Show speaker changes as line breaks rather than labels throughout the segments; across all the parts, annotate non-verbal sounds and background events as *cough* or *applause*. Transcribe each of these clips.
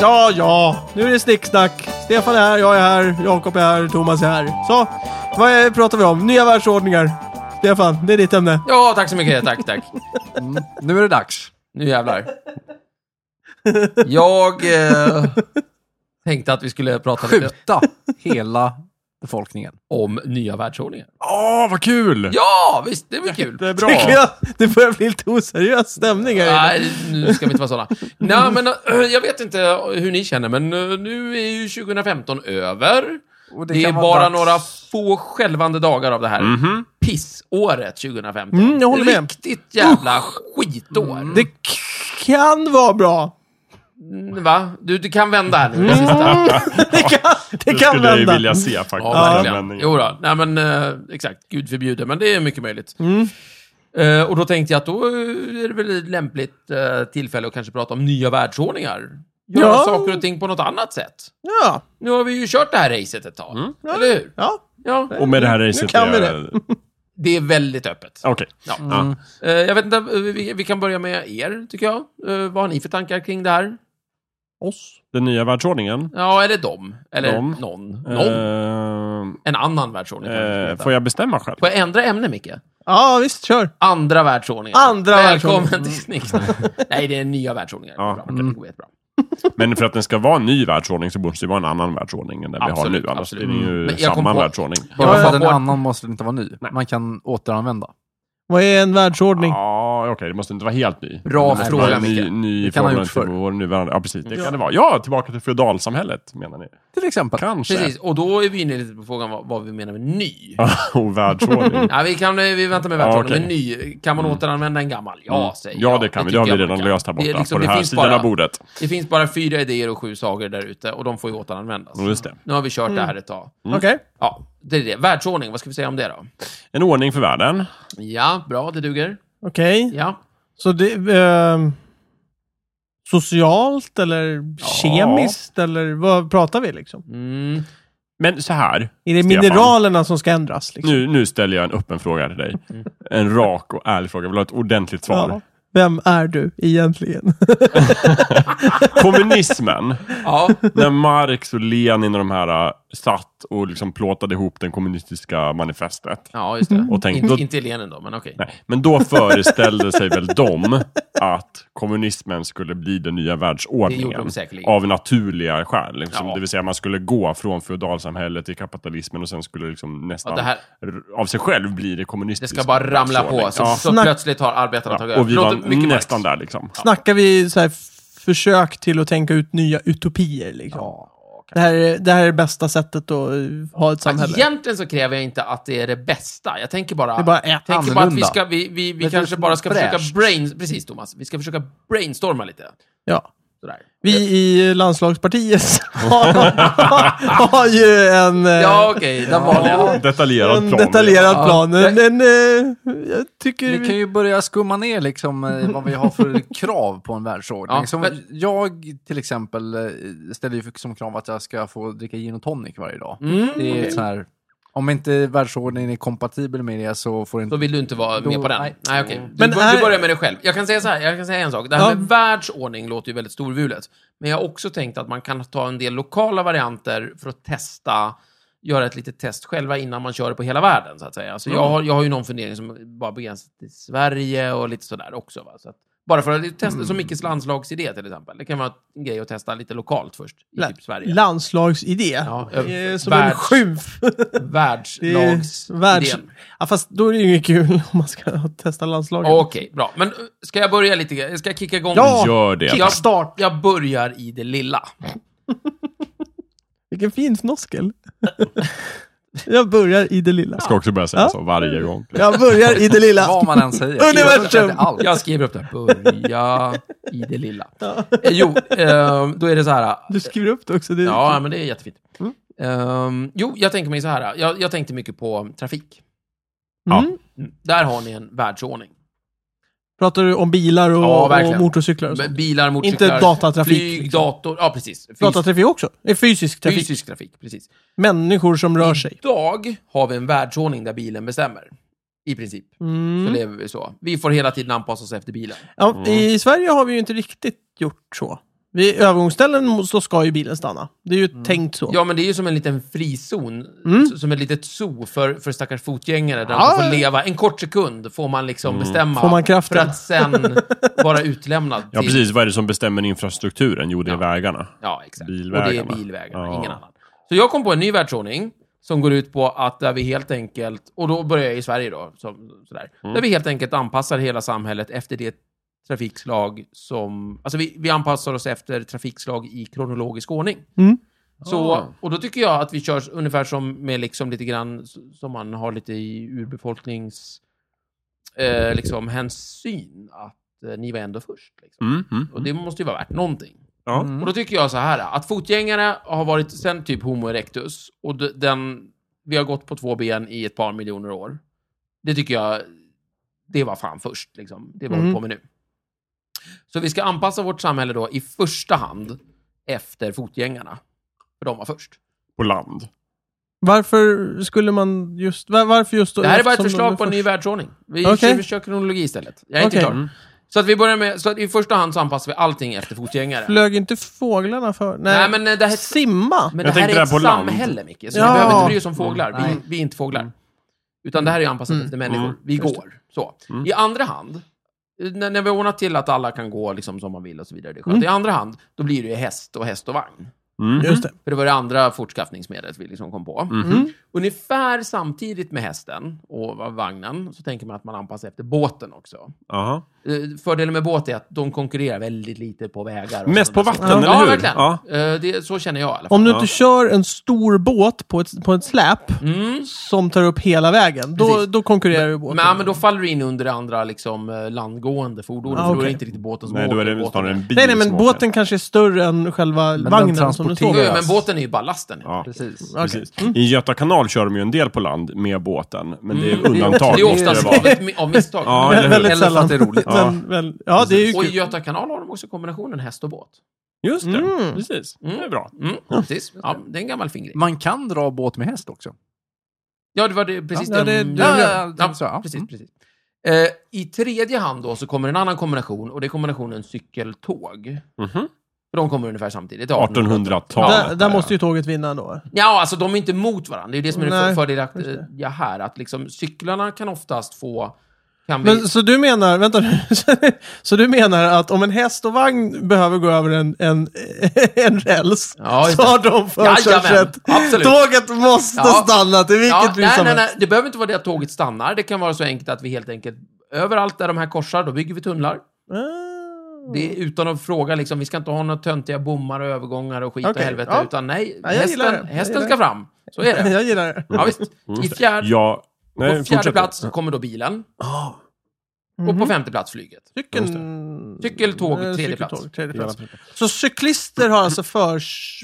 Ja, ja, nu är det snicksnack. Stefan är här, jag är här, Jakob är här, Thomas är här. Så, vad är, pratar vi om? Nya världsordningar. Stefan, det är ditt ämne.
Ja, tack så mycket. Tack, tack.
Nu är det dags.
Nu jävlar. Jag eh, tänkte att vi skulle prata lite
Skjuta hela
*laughs*
befolkningen.
om nya världsordningen.
Åh, vad kul!
Ja, visst, det blir kul.
Det är bra.
Tycker jag, det börjar bli lite oseriös stämning här inne.
Nej, nu ska vi inte vara sådana. Nej, men eh, jag vet inte hur ni känner, men eh, nu är ju 2015 över.
Och
Det, är
kan vara
bara
dags-
några få skälvande dagar av det här
Mhm.
pissåret 2015.
Mm, jag håller med. Mm.
Riktigt jävla skitår.
Det k- kan vara bra.
Mm, Va? Du, du kan vända här nu, det sista.
Det kan, det
Det
kan
skulle jag ju
vända.
vilja se faktiskt.
Ja,
den
verkligen.
vändningen.
Jo då. Nej, men eh, exakt. Gud förbjude, men det är mycket möjligt. Eh, och då tänkte jag att då eh, är det väl ett lämpligt eh, tillfälle att kanske prata om nya världsordningar. Göra
Ja.
saker och ting på något annat sätt.
Ja,
Nu har vi ju kört det här racet ett tag,
Mm.
eller hur?
ja.
Ja,
Och med det här racet...
kan vi
är-
det.
det är väldigt öppet.
*laughs* Okej.
Ja.
Ja.
Eh, jag vet inte, eh, vi, vi kan börja med er, tycker jag. Eh, vad har ni för tankar kring det här? Oss?
Den nya världsordningen.
Ja, eller dem. Eller
Dem.
någon. Någon.
Någon.
en annan världsordning. kan man heta.
eh, får jag bestämma själv?
Får jag ändra ämne, Micke?
ja visst, kör.
Andra världsordningen.
Andra
Välkommen
världsordningen. Mm.
till
*laughs*
Snicksnack. Nej, det är nya världsordningar.
Ja,
bra.
okej.
Det går jättebra.
Men för att den ska vara en ny världsordning så måste det vara en annan världsordning än den vi
Absolut,
har nu. Annars
absolut. Mm.
blir det ju
Men jag kom
samma
på-
världsordning.
Bara för att en
Ja.
annan måste den inte vara ny. Man kan återanvända.
Vad är en världsordning?
Ja, okej. det måste inte vara helt ny.
Bra
det
fråga,
måste vara
Micke.
Ny, ny
Det kan ha
förhållande
gjorts
till
förr.
vår nuvarande... Ja, precis. Det kan det vara. Ja, tillbaka till feodalsamhället, menar ni?
Till exempel.
Kanske. *laughs*
Precis, och då är vi inne lite på frågan vad, vad vi menar med ny.
och världsordning.
Ja, vi, kan, eh, vi väntar med världsordningen.
Ja, Mm.
Men ny, kan man återanvända en gammal? Ja, säger
Ja, det kan vi. Det har vi
tycker jag man
redan
kan.
löst här
Det
borta.
är liksom-
på den
det
här
finns
sidan
bara-
av bordet.
Det finns bara fyra idéer och sju sagor där ute och de får ju återanvändas.
Just det.
Nu har vi kört det här ett tag.
Okej.
Ja, det är det. Världsordning, vad ska vi säga om det då?
En ordning för världen.
Ja, bra, det duger.
Okej.
Ja.
Så det... ehm, socialt eller kemiskt eller vad pratar vi liksom?
Mm.
Men så här.
Är det
Stefan.
mineralerna som ska ändras? Liksom?
Nu, nu ställer jag en öppen fråga till dig.
Mm.
En rak och ärlig fråga. Jag vill ha ett ordentligt svar.
Ja. Vem är du egentligen?
*laughs* Kommunismen. *laughs*
Ja,
när Marx och Lenin och de här äh, satt och liksom plåtade ihop den kommunistiska manifestet.
ja just det.
Och tänk-
inte,
då-
inte Lenin då, men okej.
Nej, men då föreställde sig väl de att kommunismen skulle bli den nya
Det gjorde
världsordningen.
de säkerligen.
Av naturliga skäl. Liksom.
Ja.
Det vill säga man skulle gå från feodalsamhället till kapitalismen och sen skulle liksom nästan
Ja, det här-
r- av sig själv bli det
Det
kommunistiska.
ska bara ramla på, så,
Ja.
så
Snack-
plötsligt har arbetarna tagit över.
Ja. Och vi
Låter
var
Marx.
nästan där liksom.
*laughs* Snackar vi så här f- försök till att tänka ut nya utopier liksom? Det här, är, det här är det bästa sättet att eh, ha ett samhälle.
Alltså, Egentligen så kräver jag inte att det är det bästa. Jag tänker bara...
Det är bara ett.
jag tänker bara att vi,
annorlunda.
ska, vi, vi, vi
Men det
kanske
är
bara ska
fräscht.
försöka brain... Precis, Thomas. Vi ska försöka brainstorma lite.
Ja.
Sådär.
Vi i landslagspartiet *laughs* har, har ju en, eh,
Ja, okej. Där var det.
Detaljerad
en
plan. liksom.
detaljerad
Ja.
plan. En, en, eh, jag tycker...
Mm.
Vi kan ju börja skumma ner
*laughs*
liksom eh, vad vi har för krav på en världsordning.
Ja,
som
men-
Jag till exempel eh, ställer ju för- som krav att jag ska få dricka gin och tonic varje dag.
Mm,
Det är
okej.
så här, om inte världsordningen är kompatibel med det så får det
Då
inte...
vill du inte vara
Då-
med på den? Nej,
nej.
okej. Du,
Men
bör-
här-
du börjar med dig själv. Jag kan säga så här, jag kan säga en sak. Det här
Ja.
med världsordning låter ju väldigt storvulet. Men jag har också tänkt att man kan ta en del lokala varianter för att testa, göra ett litet test själva innan man kör det på hela världen, så att säga. Så jag, har, jag har ju någon fundering som bara begränsas till Sverige och lite sådär också. Va? Så att, bara för att testa, som Mickes landslagsidé till exempel. Det kan vara en grej att testa lite lokalt först, i
La-
typ Sverige. Eh,
landslagsidé.
Ja,
Det är som en
världs-
skymf. Det är
Världslagsidén.
världs... Ja, fast då är det ju inget kul *laughs* om man ska testa landslaget.
Okej, bra. Men eh, ska jag börja lite grann? Ska jag kicka igång?
Ja!
Gör det.
Jag, start, jag börjar i det lilla.
Vilken fin fnoskel. *laughs* jag börjar i det lilla.
Jag ska också börja säga
Ja.
så varje gång.
Jag börjar i det
*laughs*
lilla.
*laughs* Vad man än säger.
Universum!
Allt.
Jag skriver upp det. Börja i det lilla. Eh, jo, eh, då är det så här.
Du Mm. skriver upp det också. Det är
Ja, men det är jättefint. Eh, jo, jag tänker mig så här. eh, Jag, jag tänkte mycket på trafik.
Ja.
Mm.
Där har ni en världsordning.
Pratar du om bilar och,
Ja, verkligen.
och motorcyklar och
Med
sånt?
Bilar, motorcyklar,
Inte datatrafik,
flyg,
liksom.
dator. Ja, precis. Fys-
Datatrafik också? Det är fysisk trafik.
fysisk Mm. trafik, precis.
Människor som rör sig.
Idag har vi en världsordning där bilen bestämmer. I princip. Så
Mm.
lever vi så. Vi får hela tiden anpassa oss efter bilen.
Ja, I Sverige har vi ju inte riktigt gjort så. Vid övergångsställen så ska ju bilen stanna. Det är ju
Mm.
tänkt så.
Ja, men det är ju som en liten frizon. s- Som ett litet zoo för, för stackars fotgängare där
Mm. Ja,
de får
ja. Mm.
leva. En kort sekund får man liksom bestämma.
Får man kraften?
För
*laughs*
att sen vara utlämnad
Ja,
till...
precis. Vad är det som bestämmer infrastrukturen? Jo, det är
Ja.
vägarna.
Ja, exakt. Och det
Bilvägarna.
är bilvägarna,
Ja.
ingen annan. Så jag kom på en ny världsordning som går ut på att där vi helt enkelt, och då börjar jag i Sverige då, som, sådär,
Mm.
där vi helt enkelt anpassar hela samhället efter det trafikslag som, alltså vi, vi anpassar oss efter trafikslag i kronologisk ordning.
Mm.
Ah.
Så, och då tycker jag att vi kör ungefär som med liksom lite grann s- som man har lite i urbefolknings eh, liksom hänsyn att eh, ni var ändå först. Liksom.
Mm, mm,
Och det måste ju vara värt någonting.
Ja.
Och då tycker jag så här, att fotgängare har varit sen typ Homo erectus och d- den, vi har gått på två ben i ett par miljoner år. Det tycker jag, det var fan först liksom. Det var
Mm.
vi på med nu. Så vi ska anpassa vårt samhälle då i första hand efter fotgängarna. För de var först.
På land.
Varför skulle man just... var- Varför just...
Det här är bara ett
eftersom de
förslag på en
först?
ny världsordning. Vi
Okej.
kör, vi kör kronologi istället. Jag är
Okej. Mm.
inte klar. Så att vi börjar med, så att i första hand så anpassar vi allting efter fotgängare.
Flög inte fåglarna för?
Nej, men eh, det här,
Simma?
Men
Jag
det här
tänkte
är
det
ett
här på land.
samhälle, Micke. Så
Ja.
vi behöver inte bry oss om fåglar.
Nej.
Vi, vi är inte fåglar. Utan det här är ju anpassat efter människor.
Mm.
Vi går. Så. I andra hand, när, när vi ordnar till att alla kan gå liksom som man vill och så vidare. Det är skönt. I andra hand, då blir det ju häst och häst och vagn.
Mm.
Just det.
För det var det andra fortskaffningsmedlet vi liksom kom på.
Mhm.
Ungefär samtidigt med hästen och vagnen så tänker man att man anpassar efter båten också.
Aha.
Eh, Fördelen med båt är att de konkurrerar väldigt lite på vägar. och
Mest på
sådana
vatten,
saker.
eller
Ja,
hur?
verkligen.
Ja.
Eh, Det, så känner jag i alla fall.
Om du inte kör en stor båt på ett, på ett släp
Mm.
som tar upp hela vägen, då,
Precis.
då konkurrerar ju båten.
Men, ja, men då faller du in under det andra liksom, eh, landgående fordonet,
Ah,
för då är
okej.
det inte riktigt båten som
Nej, då
åker.
är det
båten
snarare en bil
nej, nej, men
som åker.
båten kanske är större än själva
den
vagnen som du står
Jo,
på.
jo,
transporteras.
men båten är ju ballasten. Ja.
Ja.
Precis.
Okej.
Precis. I Göta kanal kör de ju en del på land med båten, men det är
Mm.
undantag.
Det är oftast
skulle det vara.
skrivet mi- av misstag.
Ja, eller hur?
Väldigt
Eller för
sällan.
att det är roligt.
Ja, *laughs* men, väl, ja det är ju
Och i
kul.
Göta kanal har de också kombinationen häst och båt.
Just det,
Mm.
precis. Det är bra.
Mm, precis. Ja, det är en gammal fin grej.
Man kan dra båt med häst också.
Ja, det var det, precis
Ja, det-
det.
det-
ja,
ja,
ja,
det-
ja,
så, ja.
precis,
Mm.
precis. Eh, I tredje hand då så kommer en annan kombination och det är kombinationen cykeltåg.
Mhm.
De kommer ungefär samtidigt.
1800-talet.
Där, där måste ju tåget vinna då.
Ja, alltså de är inte mot varandra. Det är ju det som är
Nej,
det
just det.
fördelaktiga eh, här. Att liksom, cyklarna kan oftast få... Kan bli,
Men, så du menar, vänta nu. *laughs* så du menar att om en häst och vagn behöver gå över en, en, *laughs* en räls,
Ja, just
så
det.
har de
Jajamän,
förkörsrätt.
absolut.
Tåget måste
Ja.
stanna till vilket
ja,
pris
nej,
som
nej,
helst.
nej, det behöver inte vara det att tåget stannar. Det kan vara så enkelt att vi helt enkelt... Överallt där de här korsar, då bygger vi tunnlar.
Ah.
Det är utan att fråga, liksom, vi ska inte ha några töntiga bommar och övergångar och skit och
Okej,
helvete.
ja.
Utan nej,
Ja, jag gillar det.
hästen,
Jag
hästen
gillar
ska fram. Så är
*laughs*
det.
Jag gillar det.
Ja, visst. I fjärde,
Mm. Ja. Nej,
på fjärde
fortsätt. Ah.
plats så kommer då bilen. Och på femte plats flyget.
Cykeln...
Cykeltåg,
Mm. Eh,
tredje
cykeltåg,
plats.
tredje plats. Så cyklister har alltså för,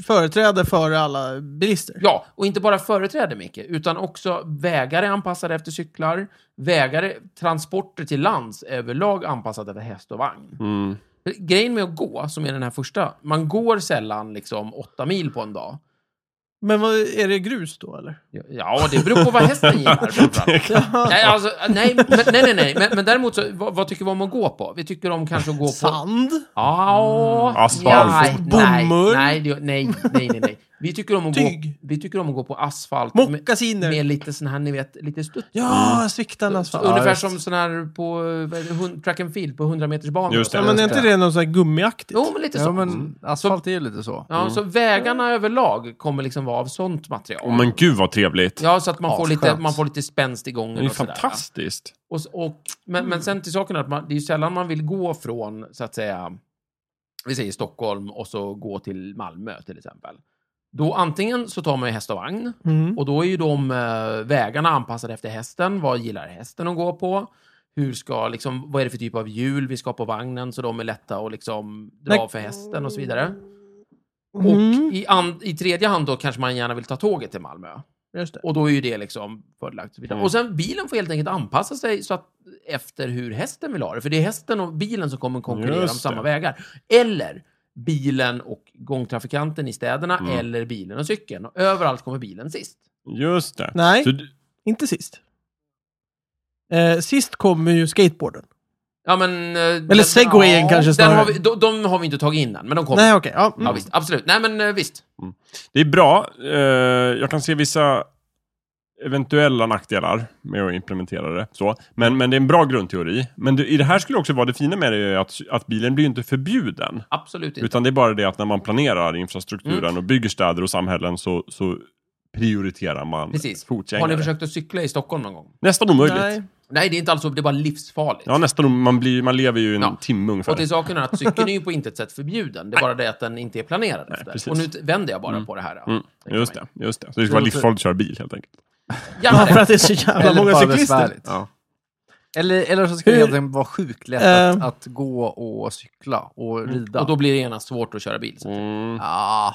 företräde före alla bilister?
Ja, och inte bara företräde, Micke, utan också vägar är anpassade efter cyklar. Vägar, är- transporter till lands är överlag anpassade efter häst och vagn.
Mm.
För Grejen med att gå, som är den här första, man går sällan liksom åtta mil på en dag.
Men vad, är det grus då eller?
Ja, det beror på vad hästen gillar framförallt. Nej, alltså, nej, men, nej, nej, nej. Men, men däremot, så, vad, vad tycker vi om att gå på? Vi tycker om kanske att gå på...
Sand?
Ja,
Asfalt.
nej, nej,
Bomull.
Nej, det- nej, nej, nej, nej. Vi tycker om att, gå,
Tyg.
vi tycker om att gå på asfalt. med-
Mockasiner?
Med lite sån här, ni vet, lite stutt.
Ja, sviktande
Så,
asfalt.
ungefär
just.
som sån här på vad är det, hund- track and field på 100 meters banor.
Just det.
Ja, men är inte det något sånt här gummiaktigt?
Jo, men lite så.
Ja, men asfalt är ju lite så.
Mm.
Ja, så vägarna överlag kommer liksom vara av sånt material.
Åh, men gud vad trevligt.
Ja, så att man, får lite,
Asskönt.
man får lite spänst i gången.
det är ju
och sådär.
fantastiskt.
Och, s- och, men, men sen till saken är att man, det är ju sällan man vill gå från, så att säga, vi säger Stockholm och så gå till Malmö till exempel. Då antingen så tar man ju häst och vagn
Mm.
och då är ju de eh, vägarna anpassade efter hästen. Vad gillar hästen att gå på? Hur ska, liksom, vad är det för typ av hjul vi ska ha på vagnen så de är lätta att liksom, dra
Nej.
för hästen och så vidare.
Mm.
Och i, an, i tredje hand då kanske man gärna vill ta tåget till Malmö.
Just det.
Och då är ju det liksom fördelaktigt.
Mm.
Och sen bilen får helt enkelt anpassa sig så att, efter hur hästen vill ha det. För det är hästen och bilen som kommer konkurrera
Just
om samma
det.
vägar. Eller bilen och gångtrafikanten i städerna,
Mm.
eller bilen och cykeln. Och överallt kommer bilen sist.
Just det.
Nej.
Så, d-
Inte sist. Eh, sist kommer ju skateboarden.
Ja, men, eh,
Eller segwayen kanske
den har
snarare.
vi, de, de har vi inte tagit in än, men de kommer.
Nej, okej. Ja, mm.
Ja, visst. Absolut. Nej, men eh, visst.
Det är bra. Eh, jag kan se vissa eventuella nackdelar med att implementera det. Så. Men, men det är en bra grundteori. Men du, i det här skulle också vara det fina med det är ju att, att bilen blir ju inte förbjuden.
Absolut inte.
Utan det är bara det att när man planerar infrastrukturen
Mm.
och bygger städer och samhällen så, så prioriterar man
Precis. Har ni
fotgängare.
försökt att cykla i Stockholm någon gång?
Nästan omöjligt.
Nej.
Nej, det är inte alls så. Det är bara livsfarligt.
Ja, nästan om- man, blir, man lever ju en
Ja.
timme ungefär.
Och till saken är att cykeln är ju på intet sätt förbjuden. Det är bara det att den inte är planerad efter.
precis.
Och nu t- vänder jag bara på det här. ja.
Mm,
Tänker
just,
man.
det, just det. Så det ska vara livsfarligt att köra bil helt enkelt.
Ja,
Janne,
för att det är så jävla många cyklister.
Ja.
Eller, eller så ska det
Hur-
helt enkelt vara sjukt lätt
Eh.
att, att gå och cykla och rida.
Och då blir det genast svårt att köra bil. Så.
Mm.
Ja,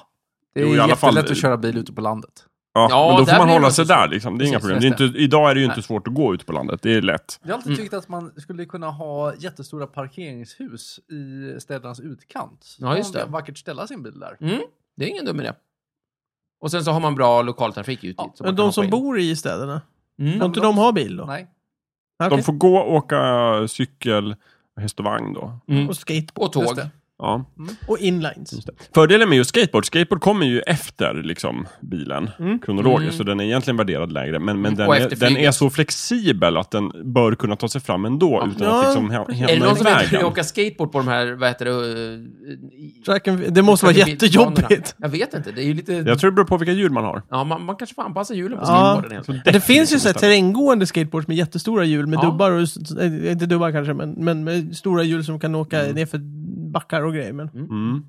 det är
Jo, i alla
jättelätt
fall-
att köra bil ute på landet.
Ja,
Ja,
men då
där
får man
blir
hålla
det
sig
inte så.
där. Liksom. Det är inga
Precis,
problem. Det är inte,
just
idag är det ju inte
Nej.
svårt att gå ut på landet. Det är lätt.
Jag har alltid
Mm.
tyckt att man skulle kunna ha jättestora parkeringshus i städernas utkant. Så
Ja,
kan
just
man
det.
vackert ställa sin bil där.
Mm, det är ingen dum idé. Och sen så har man bra lokaltrafik ut dit.
Ja,
som man
Men
kan
de
hoppa
som
in.
bor i städerna, får
Mm.
inte de ha bil då?
Nej.
Nej,
De
okej.
får gå, åka cykel, häst och vagn då.
Mm.
Och skateboard.
Och tåg.
Just det.
Ja.
Och inlines.
Just det. Fördelen med just skateboard, skateboard kommer ju efter liksom, bilen
Mm.
kronologiskt,
Mm.
så den är egentligen värderad lägre. Men, men
Mm.
den,
Och
är,
efter
den är
flyget.
så flexibel att den bör kunna ta sig fram ändå
Ja.
utan
Ja,
att liksom, hä-
precis.
hamna
Är det någon
i
som vet hur
vägen.
jag åker skateboard på de här, vad heter det, eh, i-
Track and- Det måste vara jättejobbigt.
Jag vet inte, det är ju lite...
Jag tror det beror på vilka hjul man har.
Ja, man, man kanske får anpassa hjulen på
Ja.
skateboarden helt
Så
enkelt.
Men det
däck
finns ju
liksom
så här
istället.
terränggående skateboards med jättestora hjul med
Ja.
dubbar och, s- s- eh, inte dubbar kanske, men, men med stora hjul som kan åka nerför backar och grejer. Men,
Mm.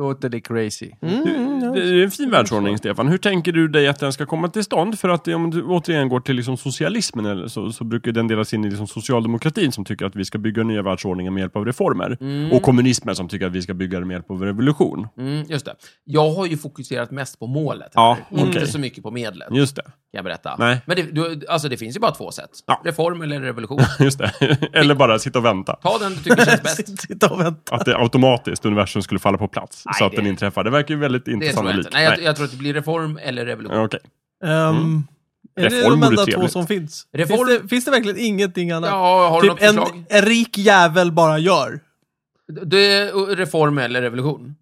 Låter det crazy.
mm, mm, ja.
Det är ju en fin världsordning, Stefan. Hur tänker du dig att den ska komma till stånd? För att om du återigen går till liksom socialismen eller så, så brukar den delas in i liksom socialdemokratin som tycker att vi ska bygga nya världsordningar med hjälp av reformer.
Mm.
Och kommunismen som tycker att vi ska bygga det med hjälp av revolution.
Mm, just det. Jag har ju fokuserat mest på målet.
Ja,
här. Inte
okej.
så mycket på medlet, kan
Just det.
jag berätta.
Nej.
Men det, du, alltså, det finns ju bara två sätt.
Ja.
Reform eller revolution.
Just det. *laughs* Eller bara sitta och vänta.
Ta den du tycker känns
*laughs*
bäst.
*laughs* Sitta och vänta.
Att det automatiskt universum skulle falla på plats så
Nej,
att den
det-
inträffar. Det verkar ju väldigt
Det tror
intressant
jag
och
inte.
likt.
Nej, jag, jag tror att det blir reform eller revolution.
Ja, Okej.
Ehm, Är det
Mm. Reform
de
vore
enda två
trevligt.
som finns?
Reform-
Finns, det, finns det verkligen ingenting annat?
Ja, har du
typ
något förslag?
en, en rik jävel bara gör.
Det är reform eller revolution.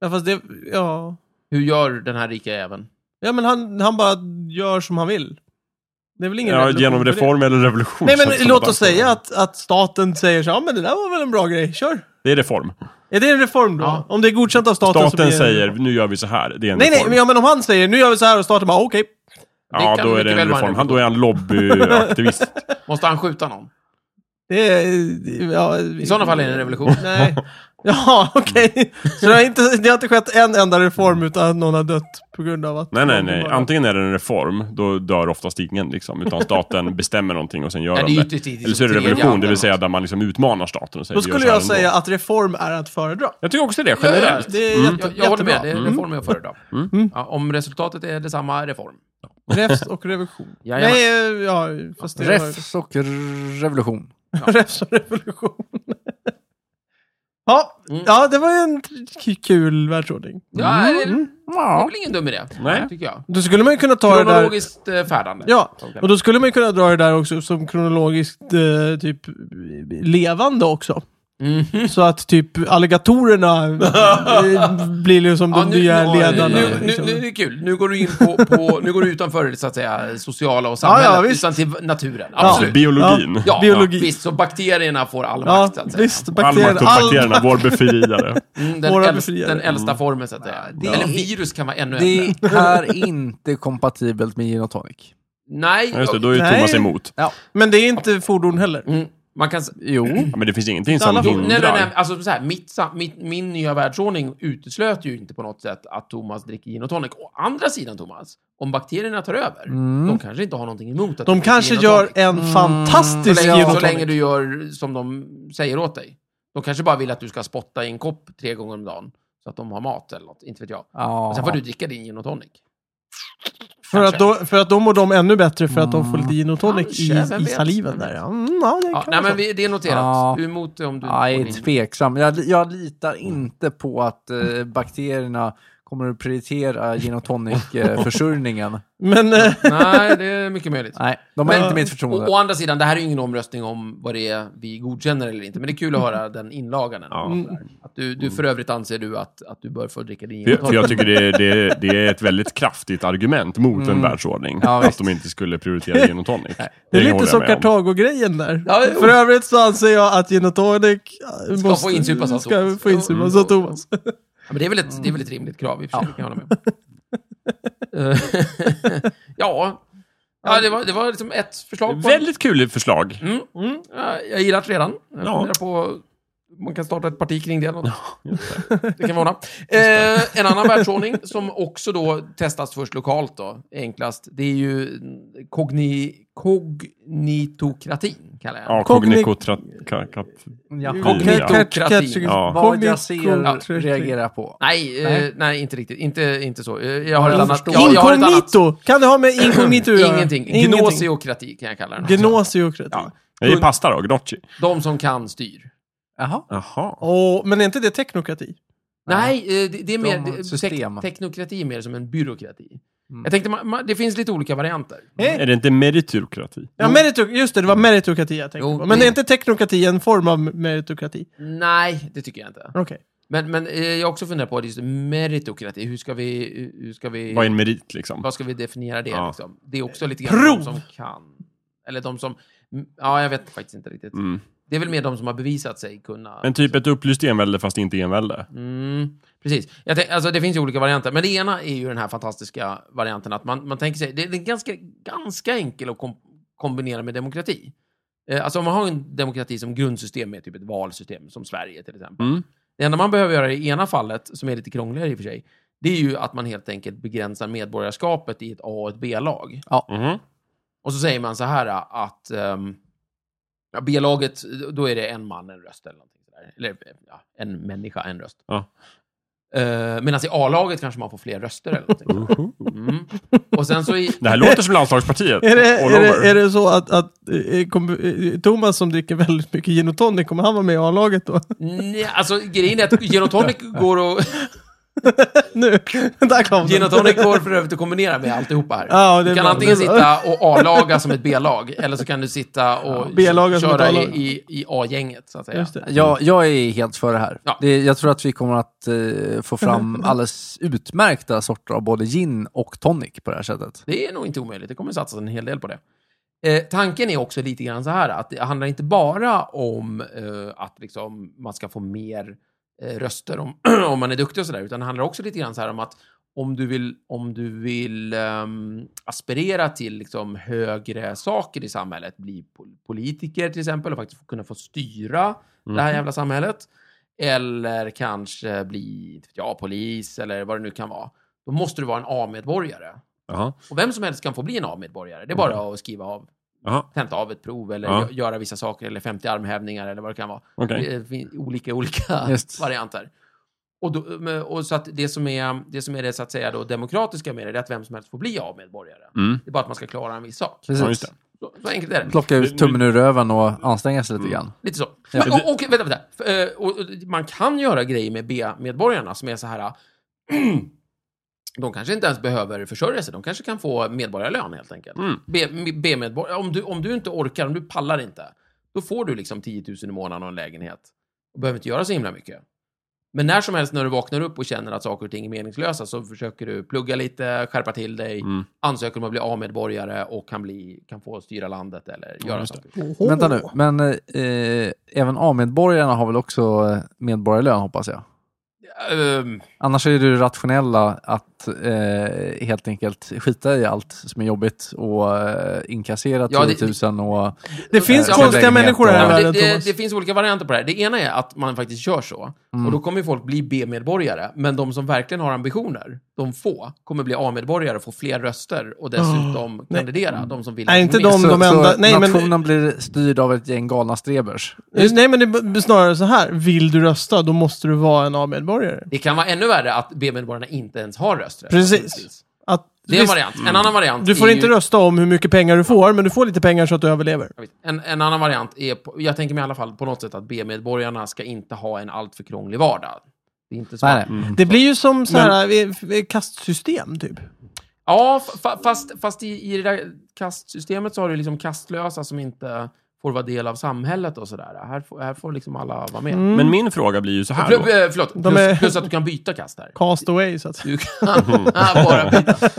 Ja, fast det, ja.
Hur gör den här rika även?
ja men han, han bara gör som han vill. Det är väl ingen
Ja,
revolution
genom
för det.
reform eller revolution.
Nej
känns
men
som
låt
att-
oss säga att, att staten säger så ja men det där var väl en bra grej, kör.
Det är reform.
Är det en reform då?
Ja.
Om det är godkänt av staten så blir
Staten
det en
säger,
reform.
nu gör vi så här. Det är en
Nej nej,
reform.
men, ja, men om han säger nu gör vi så här och staten bara okej.
Ja,
kan
då är
mycket
det en
väl vara en
reform. Han, då är han lobbyaktivist.
Måste han skjuta någon?
Det är- Ja, I
sådana fall är det en revolution.
*laughs* Nej. Ja, okej. Så det har, inte, det har inte skett en enda reform utan att någon har dött på grund av att...
nej, nej,
någon
nej.
bara-
Antingen är det en reform, då dör oftast ingen liksom. Utan staten bestämmer någonting och sen gör
Ja, det är
de
ju
det.
till- till- till-
Eller så är det
till-
revolution,
till-
det vill säga där man liksom utmanar staten och säger
Då
"Gör
skulle
så här
jag
ändå."
säga att reform är att föredra.
Jag tycker också det,
Ja, ja,
generellt. Mm.
Det är jätte,
Mm. Jag, jag håller med, det
jättebra.
är reform jag föredrar. Mm. Ja, om resultatet är detsamma, reform.
Refs och revolution.
Jajamän.
Nej, eh, ja, fast det
Refs och revolution.
*laughs* var... Refs och revolution. ja,
Mm.
ja, det var ju en k- kul världsordning.
Ja, det, det är
Mm. Ja.
väl ingen dum idé,
Mm. Nej.
tycker jag.
Då skulle man ju kunna ta det där...
Kronologiskt eh, färdande.
Ja, och då skulle man ju kunna dra det där också som kronologiskt eh, typ levande också.
Mhm.
Så att typ alligatorerna eh, blir liksom
Ja,
de
nu,
nya ledarna.
nu, nu, nu,
liksom.
nu är det kul. Nu går du in på, på nu går du utanför det så att säga, sociala och
Ja, ja,
samhället,
visst.
utan till naturen.
Ja.
Absolut.
Biologin.
Ja.
Ja,
Biologi.
visst. Så bakterierna får all
ja,
makt, alltså. så att säga.
visst.
All makt
Bakterierna.
åt
All...
bakterierna, vår befriare.
Mm, den,
Våra Mm.
äldsta,
befriare.
den äldsta formen, så att säga.
det-
Eller virus kan vara ännu äldre.
Det är inte kompatibelt med gin och tonic.
Nej,
Ja, just det, då är ju
Nej.
Thomas emot.
Men det är inte fordon heller.
mm, man kan... s-
Jo.
Ja, men det finns ingenting
Alla
som
får-
Jo, nej, nej, nej,
hindrar.
alltså så här, mitt, sam- mitt, min nya världsordning uteslöt ju inte på något sätt att Thomas dricker gin och tonic. Å andra sidan, Thomas, om bakterierna tar över, de kanske inte har någonting emot att du
Mm. De
dricker
kanske
gin och
gör
tonic.
en fantastisk
så
gin
Mm, länge,
och
så länge
tonic.
du gör som de säger åt dig. De kanske bara vill att du ska spotta i en kopp tre gånger om dagen så att de har mat eller något, inte vet jag.
Ja.
Och sen får du dricka din gin och tonic.
För
kanske. Mm.
att, då, för att då mår de ännu bättre för att de får lite gin och tonic i,
Kanske, vem
i
vet,
saliven
vem
där.
vet.
Ja, mm, ja, det
Ja,
kan
nej,
vara
men
så.
vi, det är noterat.
alltså. Ja.
Du är emot det om du...
Jag
får
är
din-
tveksam. Jag, jag litar inte på att eh, bakterierna Kommer du prioritera gin
*laughs*
och tonic-försörjningen?
Men... Eh,
Nej, det är mycket
*laughs*
möjligt.
Nej, de har
Men-
inte mitt
Å,
förtroende.
å andra sidan, det här är ju ingen omröstning om vad det är vi godkänner eller inte, men det är
*laughs*
kul att höra den inlagan. ändå.
Ja.
Att du,
Mm.
du för övrigt anser du att, att du bör få dricka din gin
För,
och
för
tonic.
jag tycker det är, det, är, det är ett väldigt kraftigt argument mot en världsordning.
Ja,
att de inte skulle prioritera gin och tonic.
Det är lite
håller jag
som
med om.
Kartago-grejen där.
Ja, jo.
För övrigt så anser jag att gin och tonic eh,
Ska få insupas av Mm.
ska
Thomas.
få insupas
Jo,
av
jo, jo.
Thomas.
Ja, men det, är väl ett, det är väl ett rimligt krav, i och för sig. Ja. Kan jag hålla med. Eh, *laughs* ja. ja, det var, det var liksom ett förslag. På
Väldigt kul förslag.
Mm. Mm. Ja, Jag gillar det redan. Jag
Ja.
funderar på man kan starta ett parti kring det. eller något. Det kan vi ordna. Eh, en annan världsordning som också då testas först lokalt då, enklast, det är ju kogni, kognitokratin, kallar jag
Ja,
det.
Kogni-
kognikotrat- ka- ka-
Ja.
Kogni-
Kognito- Kognitokrati.
Ja.
Vad jag ser
Kognitokrati.
reagerar jag på.
Nej, eh,
Nej.
nej, inte riktigt. Inte, inte så. Eh, Jag har ett
Jag
annat...
förstår.
Jag, jag har ett annat
Inkognito! Kan det ha
*clears throat*
med inkognito att göra?
ingenting. Gnosiokrati kan jag kalla den. också.
Gnosiokrati.
Ja. Jag ger pasta då, gnocchi.
De som kan styr.
Jaha.
Jaha.
Åh, men är inte det teknokrati?
Nej, eh, det, det är
De
mer...
har ett
det-
system.
Tek, teknokrati är mer som en byråkrati.
Mm.
Jag tänkte, man, man, det finns lite olika varianter.
Nej.
Är det inte meritokrati?
Ja, meritok- just det, det var
Mm.
meritokrati jag tänkte
Jo,
på. Men
det-
är inte teknokrati en form av meritokrati?
Nej, det tycker jag inte.
Okej.
Men, men eh, jag har också funderat på det just meritokrati. Hur ska vi... Hur ska vi
Vad är en merit liksom?
vad ska vi definiera det?
Ja.
Liksom? Det är också lite grann
Prov!
de som kan. Eller de som... mm, Ja, jag vet faktiskt inte riktigt.
Mm.
Det är väl mer de som har bevisat sig kunna...
En typ ett upplyst envälde fast inte envälde.
Mm, precis. Jag tänk, alltså, det finns ju olika varianter, men det ena är ju den här fantastiska varianten att man, man tänker sig, det är ganska, ganska enkel att kom, kombinera med demokrati. Eh, alltså om man har en demokrati som grundsystem med typ ett valsystem, som Sverige till exempel.
Mm.
Det enda man behöver göra i ena fallet, som är lite krångligare i och för sig, det är ju att man helt enkelt begränsar medborgarskapet i ett A och ett B-lag.
Mhm.
Och så säger man så här ah, att ehm, ja, B-laget, då är det en man, en röst eller någonting sådär. Eller ja, en människa, en röst.
Ja.
Eh, Medan i A-laget kanske man får fler röster eller någonting.
Uh.
Mhm.
Mm. Och sen så i...
Det här låter som landslagspartiet.
Är det,
All
är, det,
over.
är det så att, att eh, kom, eh, Thomas som dricker väldigt mycket gin och tonic, kommer han vara med i A-laget då?
Nej, alltså grejen är att gin och tonic går, och,
nu, *laughs* där kom
gin
den.
och tonic går för övrigt att kombinera med alltihopa här.
Ja, det är
du kan
bra.
antingen
Det är
sitta och A-laga som ett B-lag, eller så kan du sitta och
Ja, B-laga som
köra
ett
i,
A-lag.
i, i A-gänget, så att
*laughs*
säga.
Just det.
Jag, jag är helt för det här.
Ja.
Det, jag tror att vi kommer att eh,
*laughs*
få fram alldeles utmärkta sorter av både gin och tonic på det här sättet.
Det är nog inte omöjligt. Det kommer satsas en hel del på det. Eh, tanken är också lite grann så här att det handlar inte bara om eh, att liksom man ska få mer eh, röster om, *clears throat* om man är duktig och sådär, utan det handlar också lite grann så här om att om du vill, om du vill ehm, aspirera till liksom högre saker i samhället, bli pol- politiker till exempel och faktiskt kunna få styra det här jävla samhället, eller kanske bli inte vet jag, polis eller vad det nu kan vara, då måste du vara en A-medborgare.
Jaha.
Och vem som helst kan få bli en A-medborgare. Det är
Mm.
bara att skriva av,
Jaha.
tenta av ett prov eller
Ja.
gö- göra vissa saker eller 50 armhävningar eller vad det kan vara.
Okej.
Det finns olika, olika
*laughs* Just.
varianter. Och, då, men- och så att det som är det, som är det så att säga då, demokratiska med det, det är att vem som helst får bli A-medborgare.
Mm.
Det är bara att man ska klara en viss sak.
Ja, just
Precis.
det.
Så, så enkelt är det.
Plocka ut tummen ur röven och anstränga sig
Mm.
lite grann.
Lite så.
Ja.
Men, och, och, vänta, vänta. F- eh, Och, och, man kan göra grejer med B-medborgarna som är så här... *clears throat* De kanske inte ens behöver försörja sig. De kanske kan få medborgarlön helt enkelt.
Mm.
B- B-medborgare, om du, om du inte orkar, om du pallar inte, då får du liksom 10 000 i månaden och en lägenhet. Du behöver inte göra så himla mycket. Men när som helst när du vaknar upp och känner att saker och ting är meningslösa så försöker du plugga lite, skärpa till dig,
Mm.
ansöker om att bli A-medborgare och kan, bli, kan få styra landet eller göra
just det.
saker.
Oho.
Vänta nu, men eh, eh, även A-medborgarna har väl också eh, medborgarlön hoppas jag?
Ehm,
Annars är det ju rationella att eh, helt enkelt skita i allt som är jobbigt och eh, inkassera
Ja, det-
10 000 och...
Det finns
Ja, men
konstiga
lägenhet
människor här
Ja,
i
men
och-
världen,
det, det,
Thomas.
det finns olika varianter på det här. Det ena är att man faktiskt gör så.
Mm.
Och då kommer ju folk bli B-medborgare. Men de som verkligen har ambitioner, de få, kommer bli A-medborgare och få fler röster och dessutom
nej.
kandidera. De som vill
Nej,
att
inte
de är med.
de.
så,
enda-
så
nej, men-
nationen blir styrd av ett gäng galna strebers.
Just, nej, men det är b- snarare så här. Vill du rösta, då måste du vara en A-medborgare.
Det kan vara ännu värre att B-medborgarna inte ens har rösträtt.
Precis. Att,
Det är en
visst,
variant. En annan variant
du får
är
inte
ju,
rösta om hur mycket pengar du får, men du får lite pengar så att du överlever.
Jag vet. En, en annan variant är, på, jag tänker mig i alla fall på något sätt att B-medborgarna ska inte ha en alltför krånglig vardag. Det Mm. är inte smart.
Nej, nej.
Det blir ju som så här eh, kastsystem typ.
Ja, fa- fast, fast i, i det där kastsystemet så har du liksom kastlösa som inte får vara del av samhället och sådär. Här, får- här får liksom alla vara med.
Mm.
Men min fråga blir ju så här
Förl-
då.
eh, förlåt, plus,
är-
plus att du kan byta kast här.
Cast away så att säga.
Du
*laughs*
kan
Mm.
bara byta.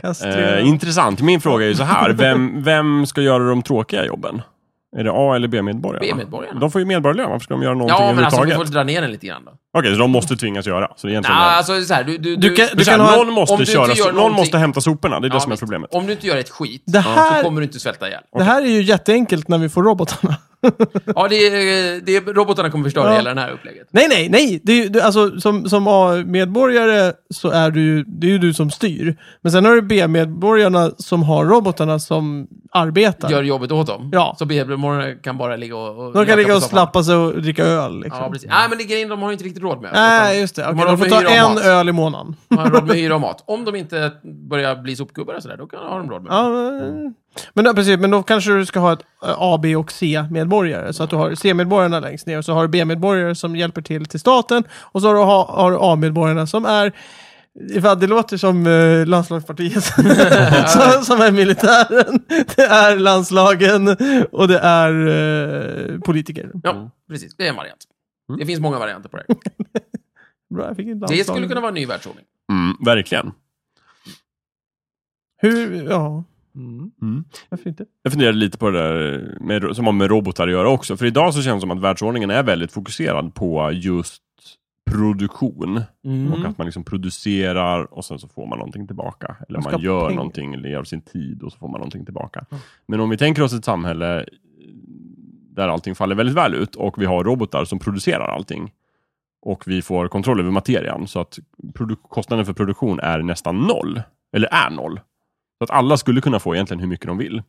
Kastrera.
Eh, intressant. Min fråga är ju så här. Vem, vem ska göra de tråkiga jobben? Är det A eller B-medborgarna?
B-medborgarna.
De får ju medborgarlön. Varför ska de göra någonting
Ja, men alltså vi
överhuvudtaget?
får dra ner den lite grann då.
Okej, så de måste tvingas göra. Så det är
Nej,
egentligen...
alltså så här, du, du,
Du kan-
Men så här,
ha en-
någon, måste
om du inte
köra,
gör
någon
någonting-
måste hämta soporna. Det är det
Ja,
som är
visst.
problemet.
Om du inte gör ett skit,
Det här-
så kommer du inte svälta ihjäl.
Det här är ju jätteenkelt när vi får robotarna.
Ja, det är, det är, robotarna kommer förstöra
Ja.
hela den här upplägget.
Nej, nej, nej! Det är, ju- det, alltså, som som A-medborgare så är du, ju- det är ju du som styr. Men sen har du B-medborgarna som har robotarna som arbetar.
Gör jobbet åt dem.
Ja.
Så B-medborgarna kan bara ligga och... och
de
leka
kan ligga
på
och
soffan.
slappa sig och dricka öl. Liksom.
Ja, precis. Nej, men det är grejen, de har ju inte riktigt råd med öl,
Nej,
utan
just det.
de
Okej,
har
de
råd
får
med
ta
hyra och
en
mat.
öl i månaden.
De har råd med hyra och mat. Om de inte börjar bli sopgubbar och sådär, då kan, har de råd med
Ja, men, ja, precis, men då kanske du ska ha ett eh, A, B och C-medborgare. Så att du har C-medborgarna längst ner och så har du B-medborgare som hjälper till till staten. Och så har du, ha- har du A-medborgarna som är Ifall det låter som eh, landslagspartiet, *laughs* som, som är militären, det är landslagen och det är eh, politiker.
Ja, precis. Det är en variant.
Mm.
Det finns många
*laughs*
varianter på det.
Bra, jag fick in
Det
landslagen.
skulle kunna vara en ny världsordning.
Mm, verkligen.
Hur, ja,
Mm.
varför inte?
Jag funderade lite på det där med, som har med robotar att göra också. För idag så känns det som att världsordningen är väldigt fokuserad på just produktion.
Mm.
Och att man liksom producerar och sen så får man någonting tillbaka. Eller
Man
man,
ska ha
gör
pengar.
någonting, eller av sin tid och så får man någonting tillbaka. Men om vi tänker oss ett samhälle eh, där allting faller väldigt väl ut och vi har robotar som producerar allting. Och vi får kontroll över materian så att produ- kostnaden för produktion är nästan noll. Eller är noll. Så att alla skulle kunna få egentligen hur mycket de vill.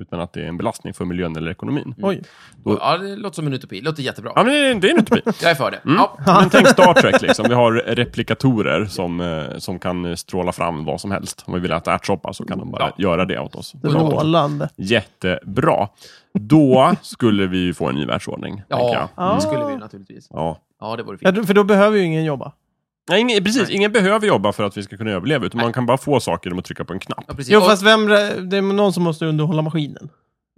Utan att det är en belastning för miljön eller ekonomin.
Oj.
Ja, det låter som en utopi. Det låter jättebra.
Ja, men det är- det är en utopi.
*laughs* Jag är för det.
Mm.
Ja.
Men tänk Star Trek, liksom. vi har replikatorer som, eh, som kan stråla fram vad som helst. Om vi vill äta ärtsoppa så kan de bara göra det åt oss.
Strålande.
Jättebra. Då skulle vi ju få en ny världsordning. tänker jag.
Ja,
Ja.
det skulle vi naturligtvis.
Ja.
Ja, det vore
Ja,
fint.
då- för då behöver ju ingen jobba.
Nej, ingen, precis, ingen behöver jobba för att vi ska kunna överleva, utan man kan bara få saker genom att trycka på en knapp.
Ja, precis.
Jo,
Och-
fast vem, re- det är någon som måste underhålla maskinen.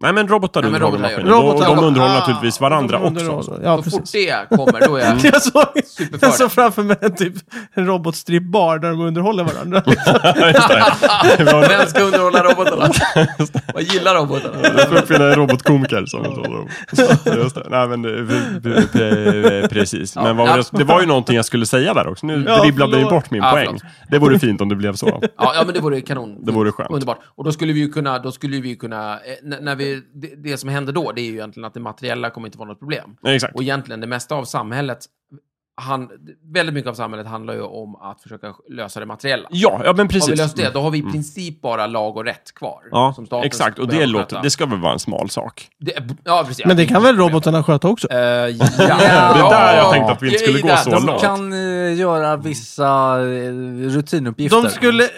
Nej, men robotar
Nej, men
underhåller
robotar gör
maskinen. Och
Robotar-
de underhåller
Ah,
naturligtvis varandra
de underhåller-
också.
Ja,
Så fort
precis.
det kommer, då är
*laughs*
jag...
Jag såg,
Superfördel.
jag såg framför mig en typ, en robotstrippbar där de underhåller
*laughs*
varandra.
Vem ska
*laughs*
underhålla robotarna? Vad gillar robotarna?
Jag får uppfinna en robotkomiker. Som
*laughs*
*laughs* Just det. Nej, men, eh, det- pre- pre- pre- eh, precis. Men vad var det, det var ju någonting jag skulle säga där också. Nu
Ja,
dribblade ni
förlåt.
bort min
Ja,
poäng.
förlåt.
Det vore fint om det
*laughs*
blev så.
Ja, ja, men det vore kanon.
Det vore skönt.
Underbart. Och då skulle vi ju kunna, då skulle vi ju kunna eh, när när vi, det, det som händer då, det är ju egentligen att det materiella kommer inte vara något problem.
Nej, Exakt.
Och egentligen det mesta av samhället, han, väldigt mycket av samhället handlar ju om att försöka lösa det materiella.
Ja, ja men
Har vi
precis. Mm.
löst det, då har vi i princip bara lag och rätt kvar.
Ja,
som staten
exakt.
ska
Och det,
behöva
låter,
sköta.
det ska väl vara en smal sak.
Det- ja, precis.
Men det kan väl robotarna sköta också?
Eh, ja, det
är där jag tänkte att vi inte skulle gå så
De
långt.
kan eh, göra vissa eh, rutinuppgifter.
De skulle,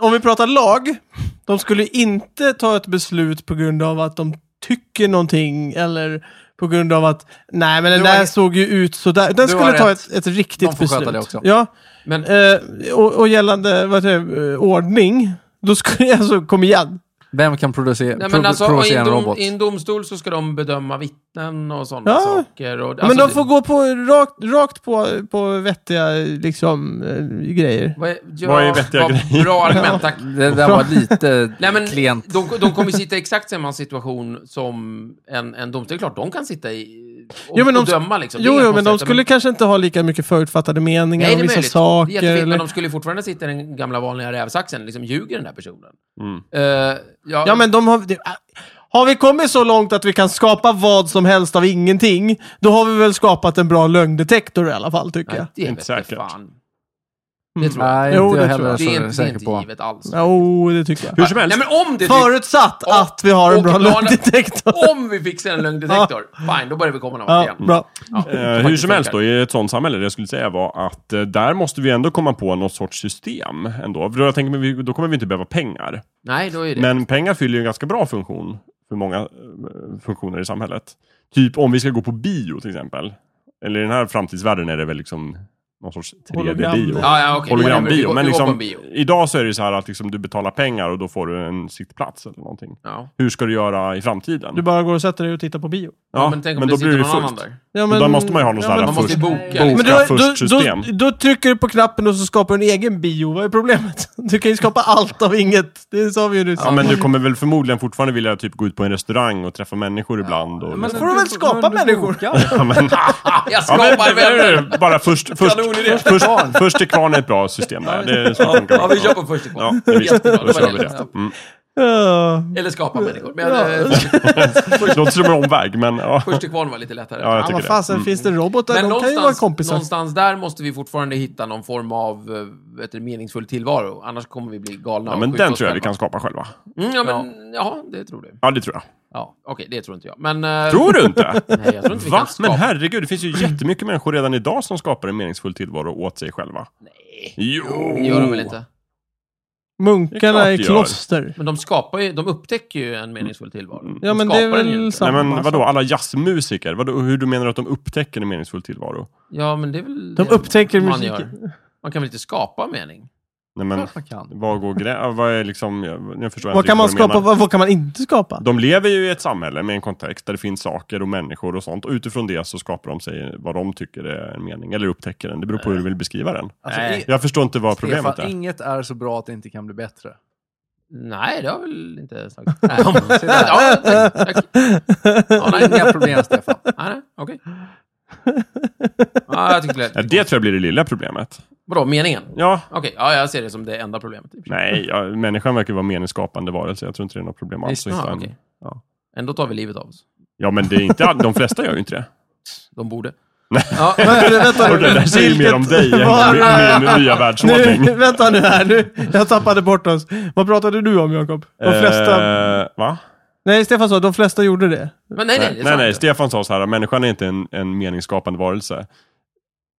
om vi pratar lag, de skulle inte ta ett beslut på grund av att de tycker någonting eller på grund av att, nej men den
Du har
där
rätt.
såg ju ut sådär. Den
har
skulle ta
rätt.
ett, ett riktigt
De får
beslut.
sköta det också.
Ja,
Men
eh, och, och gällande vad heter det, eh, ordning, då skulle jag, alltså kom igen.
Vem kan producera,
Nej,
pro-
men alltså, i,
provocera
en
en
dom,
robot?
I en domstol så ska de bedöma vittnen och sådana
Ja.
saker. Och, alltså,
men de
det-
får gå på, rakt, rakt på, på vettiga liksom, eh, grejer.
Vad är, ja,
Vad är vettiga
vad
grejer?
Bra argument,
*laughs*
tack.
Det där var lite
*laughs* Nej, men
klent.
de, de kommer sitta i exakt samma situation som en, en domstol. Det är klart, de kan sitta i och,
Jo, men de
och
sk-
döma. Liksom. Det är
Jo,
inga
jo, men de
konstigheter,
skulle kanske inte ha lika mycket förutfattade meningar
Nej,
om
det
vissa
är möjligt. det är
saker.
jättefint, men
eller...
de skulle ju fortfarande sitta i den gamla vanliga rävsaxen. Liksom, ljuger den här personen?
Mm.
Eh, ja,
Ja, men de har... Det... ah, Har vi kommit så långt att vi kan skapa vad som helst av ingenting, då har vi väl skapat en bra lögndetektor i alla fall, tycker
nej,
jag.
det
Inte
inte
säkert.
säkert. Fan.
Mm.
Det tror jag.
Nej,
Jo,
inte
det
jag
tror
heller
jag.
Det
så
är, inte, det är
säker
inte
på.
givet alls.
Jo, oh, det tycker jag.
Hur som helst.
Nej, men om det
Förutsatt
Och-
att vi har en
och
bra
planen-
lögndetektor.
Om vi fixar en lögndetektor, fine, då börjar vi komma någon vart
Ja,
igen.
bra.
Ja,
Eh,
det
hur
faktiskt
som helst
funkar.
då, i ett sånt samhälle, det jag skulle säga var att eh, där måste vi ändå komma på något sorts system ändå. För jag tänker, men vi- då kommer vi inte behöva pengar.
Nej, då är det.
Men pengar fyller ju en ganska bra funktion för många eh, funktioner i samhället. Typ om vi ska gå på bio till exempel. Eller i den här framtidsvärlden är det väl liksom någon sorts 3D-bio.
Hologram.
Ja, ja, okej. Vi
Hologrambio.
går-
Men
vi går på
liksom,
en bio.
idag så är det ju så här att liksom, du betalar pengar och då får du en sittplats eller någonting.
Ja.
Hur ska du göra i framtiden?
Du bara går och sätter dig och tittar på bio.
Ja, men tänk om det sitter någon annan där. *laughs*
Ja,
Då måste man ju ha någon sån här
men-
Man måste ju
Först-
boka.
Men
Liksom.
du, har-
först system.
då, då, då trycker du på knappen och så skapar du en egen bio. Vad är problemet? *laughs* Du kan ju skapa allt av inget. Det sa vi ju nyss.
Ja, men du kommer väl förmodligen fortfarande vilja typ gå ut på en restaurang och träffa människor ibland. Och, liksom-
får du väl skapa människor.
*laughs*
*laughs*
ja, men,
Ah, Jag
ja, men,
skapar
det är
vänner.
ju bara först, först,
Kanonidé.
först, först till kvarn är ett bra system där. Det är så det funkar.
Ja, vi kör på först i
Ja,
kvarn.
det är visst.
Jättebra,
Då
det
kör
var
vi
det.
det. Mm.
Ja.
*laughs* Eller skapa människor. Men
Ja.
jag,
Det låter som en omväg, men ja.
först i kvarn var lite lättare.
ja jag
Ja,
tycker
vad
det. Mm.
fasen, finns det robotar?
Men
De kan ju vara
någonstans,
kompisar.
någonstans där måste vi fortfarande hitta någon form av eh, vet du, meningsfull tillvaro. Annars kommer vi bli galna.
Ja,
och
men
skjuta
den
oss
tror jag vi
själva.
kan skapa själva.
Mm, ja, men, ja, det tror du.
Ja, det tror jag.
Ja, Okej, det tror inte jag. Men, eh,
Tror du inte?
*laughs* Nej, jag tror inte vi
Va?
kan skapa.
Men herregud, det finns ju jättemycket människor redan idag som skapar en meningsfull tillvaro åt sig själva.
Nej,
Jo!
det gör de väl inte?
Det är
Munkarna
klart
i
det gör.
kloster.
Men de skapar ju, de upptäcker ju en meningsfull
Mm.
tillvaro.
Ja,
de
men det är
skapar den ju
väl
inte.
Nej
samma.
men vadå, alla jazzmusiker? Vadå, hur du menar att de upptäcker en meningsfull tillvaro?
Ja, men det är väl
De
det
upptäcker
man
musiken.
gör. Man kan väl inte skapa mening?
Nej men,
Klart man kan.
vad går grä... Vad är liksom... Jag, jag förstår
Vad
inte
kan man
riktigt vad du
skapa?
menar.
Vad, vad kan man inte
*laughs*
skapa?
De lever ju i ett samhälle med en kontext där det finns saker och människor och sånt. Och utifrån det så skapar de sig vad de tycker är en mening, eller upptäcker den. Det beror på hur du vill beskriva den.
Alltså,
Nej.
i-
Jag förstår inte vad problemet
Stefan,
är.
inget är så bra att det inte kan bli bättre.
Nej, det har väl inte sagt.
*laughs*
Nej, ja, men, se där. ja, tack, tack. Ja, nej,
Inga problem Stefan.
nej, nej, okej. Ja, jag tyckte det
Ja,
lät...
det tror jag blir det lilla problemet.
Vadå, meningen?
Ja,
Okej, ja, jag ser det som det enda problemet.
nej, ja, människan verkar ju vara en meningsskapande varelse. Jag tror inte det är något problem alls.
Visst,
att hitta
Ja,
en-
Ah, okej.
Ja.
Ändå tar vi livet av oss.
ja, men det är inte, all- de flesta gör ju inte det.
De borde.
Nej.
Ja,
Men, vänta
Och det där säger mer om dig än
Vad-
min, min nya världsordning.
*laughs* Nu, vänta nu här, nu, jag tappade bort oss. Vad pratade du om Jakob? De flesta...
Eh, va?
Nej, Stefan sa de flesta gjorde det.
men nej, nej, det är
nej,
sant.
nej, Stefan sa så här, människan är inte en, en meningsskapande varelse.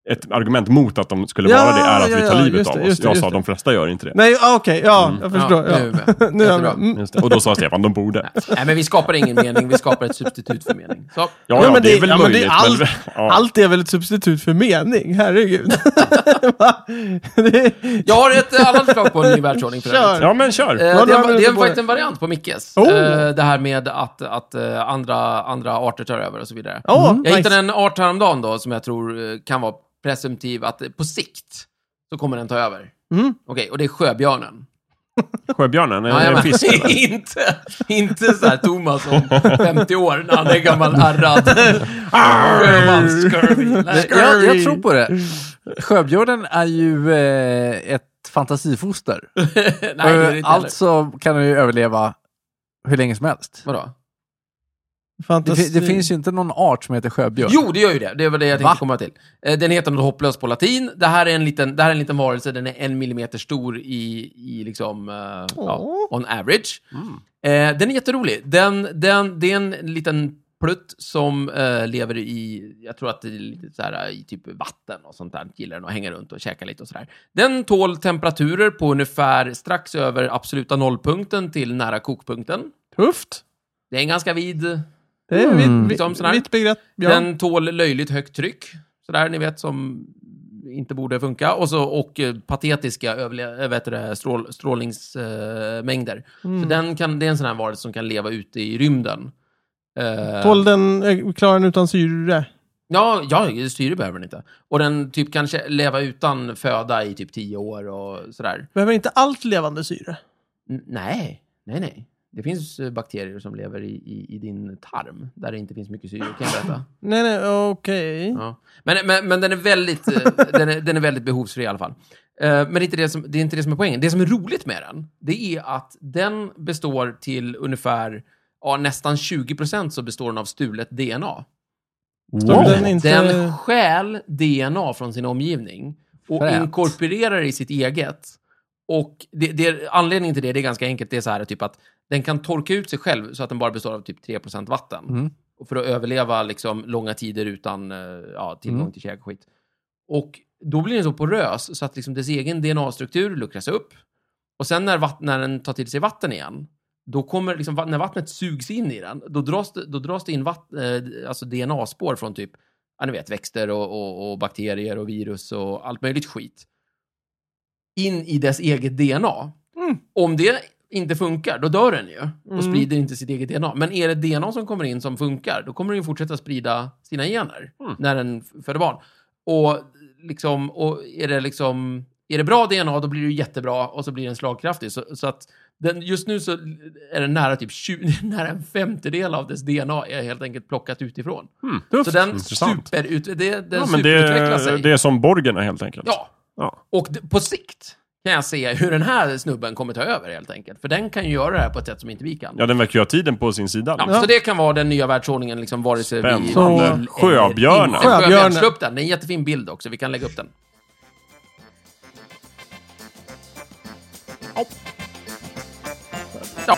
Ett argument mot att de skulle
Ja,
vara det är att
ja,
vi tar
ja,
livet
just
av
det,
oss.
just det,
jag
just
sa
det.
de flesta gör inte det.
Nej, ah, okej, ja,
Mm.
jag förstår.
Ja,
Ja,
nu är vi
*laughs*
med.
Nu är jag
Jättebra.
med. Mm.
Just det. Och då sa Stefan, de borde. Ja,
Nej, men vi skapar ingen mening, vi skapar ett substitut för mening. Så,
ja,
men
det,
det-
är väl
ja, men det
möjligt.
är
Men
allt-
ja.
Allt är väl ett substitut för mening, herregud. *laughs* Va? det,
jag har ett eh, annat förslag på en ny världsordning för övrigt.
Kör.
ja, men kör.
Eh,
Ja,
det,
nu har
är,
vi
det är
inte på
faktiskt
det.
en variant på Mickes.
Oh.
Eh, det här med att, att eh, andra, andra arter tar över och så vidare. Mm.
Åh,
Jag
nice.
hittade en art häromdagen då, som jag tror eh, kan vara presumtiv att eh, på sikt så kommer den ta över.
Mm.
Okej, och det är sjöbjörnen.
Sjöbjörnen, är
Ja,
det en
men-
*laughs*
fisk Mm.
*laughs*
eller?
inte, inte så här Thomas om 50 år när han är gammal ärrad.
*laughs*
Sjöman, scurvy. Nej,
Jag, jag tror på det. *laughs* Sjöbjörnen är ju eh, ett fantasifoster.
*laughs* nej, det är det
Eh,
inte heller.
alltså kan den ju överleva hur länge som helst.
Vadå?
Det,
Fantasi.
fi- det finns ju inte någon art som heter sjöbjörn.
Jo, det gör ju det. Det var det jag tänkte
Va?
komma till. Eh, Den heter något hopplöst på latin. Det här är en liten, det här är en liten varelse. Den är en millimeter stor i, i liksom, eh, ja, on average. Eh, den är jätterolig. Den, den, det är en liten plutt som eh, lever i, jag tror att det är lite så här, eh, i typ vatten och sånt där. Gillar den att hänga runt och käka lite och sådär. Den tål temperaturer på ungefär strax över absoluta nollpunkten till nära kokpunkten.
Tufft.
Det är en ganska vid
Det är
Mm.
mitt,
Liksom sån här.
mitt begrepp. Ja.
den tål löjligt högt tryck, sådär, ni vet, som inte borde funka. Och, så, och eh, patetiska överle- eh, vet du det, strål, strålningsmängder.
Mm.
Så den kan, det är en sån här varelse som kan leva ute i rymden. Eh,
Tål den, eh, klarar den utan syre?
Ja, ja, syre behöver den inte. Och den typ kan kä- leva utan föda i typ tio år och sådär.
Behöver inte allt levande syre?
N- nej, nej, nej. Det finns eh, bakterier som lever i, i, i din tarm, där det inte finns mycket syre, kan jag berätta.
Nej, nej, okej.
Ja. Men, men, men den, är väldigt, eh, den, är, den är väldigt behovsfri i alla fall. Eh, Men det är, inte det, som, det är inte det som är poängen. Det som är roligt med den, det är att den består till ungefär, ja, nästan 20% så består den av stulet DNA.
Så
Wow.
Den är inte...
Den stjäl DNA från sin omgivning och
Fränt.
inkorporerar det i sitt eget. Och det, det, anledningen till det, det är ganska enkelt, det är så här typ att den kan torka ut sig själv så att den bara består av typ 3% vatten.
Mm.
Och för att överleva liksom, långa tider utan eh, ja, tillgång
Mm.
till käk och skit. Och då blir den så porös så att liksom, dess egen DNA-struktur luckras upp. Och sen när, vatt- när den tar till sig vatten igen, då kommer liksom, va- när vattnet sugs in i den, då dras det, då dras det in vatt- eh, alltså DNA-spår från typ ja, ni vet, växter och, och, och bakterier och virus och allt möjligt skit in i dess eget DNA. Om det inte funkar, då dör den ju och sprider inte sitt eget DNA. Men är det DNA som kommer in som funkar, då kommer den ju fortsätta sprida sina gener när den f- föder barn. Och, liksom, och är, det liksom, är det bra DNA, då blir det ju jättebra och så blir den slagkraftig. Så, så att den, just nu så är den nära, typ 20, *laughs* nära en femtedel av dess DNA är helt enkelt plockat utifrån.
Mm, tufft.
Så den,
Intressant.
superut, det, den
ja, men
superutvecklar
det,
sig.
det är som Borgerna helt enkelt.
Ja,
Ja.
och d- på sikt kan jag se hur den här snubben kommer ta över helt enkelt. För den kan ju göra det här på ett sätt som inte vi kan.
Ja, den verkar ju ha tiden på sin sida.
Ja,
Ja.
Så det kan vara den nya världsordningen, liksom, vare sig vi
Spännande.
vill eller inte.
Sjöbjörnen.
Sjöbjörnen.
Sjöbjörnen.
Slå upp den. Det är en jättefin bild också. Vi kan lägga upp den. Ja. Ja.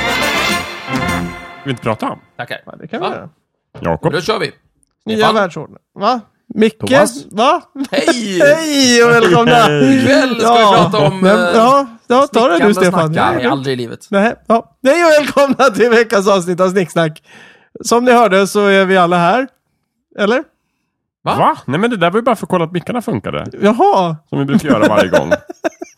Ska vi inte prata om?
Tackar.
Ja, det kan vi
Va?
göra.
Jakob?
Då kör vi.
Nya
Stefan?
världsordningen. Va? Micke?
Thomas?
Va?
Hej!
*laughs* Hej och välkomna!
Hej.
Ikväll ska vi prata om,
Men,
eh,
ja, ja, ta det du
snickande
Stefan.
snackar.
Nej, aldrig i livet.
Nej, ja. Hej och välkomna till veckans avsnitt av Snicksnack. Som ni hörde så är vi alla här. Eller?
Va? Nej men det där var ju bara för att kolla att mickarna funkade.
Jaha!
Som vi brukar göra varje gång.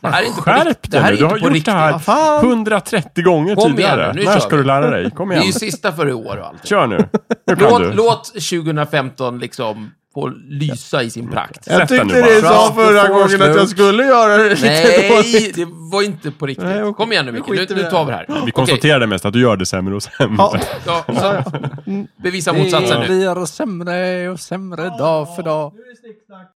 Det här är inte på
*laughs* Skärp
riktigt. Det här
dig
är
nu! Du har
inte på
gjort det
riktigt.
Vad
här
fan?
130 gånger
Kom igen
tidigare.
nu, nu
När
kör
ska
vi.
du lära dig? Kom
Det är
igen.
ju sista för i år och allt.
Kör nu. Nu kan
Låt,
du.
låt 2015 liksom få lysa i sin prakt.
Jag
Sätt den
tyckte du
nu bara.
sa förra
Fram och
gången att jag
snut.
skulle göra det lite
Nej,
dåligt.
det var inte på riktigt.
Nej, okej.
Kom igen nu
Nu
Micke, nu,
skiter vi
nu
i
tar vi det här.
Vi
Okej,
konstaterade mest att du gör det sämre och sämre.
Ja.
ja, så, bevisa motsatsen
Det
nu.
blir sämre och sämre dag för dag.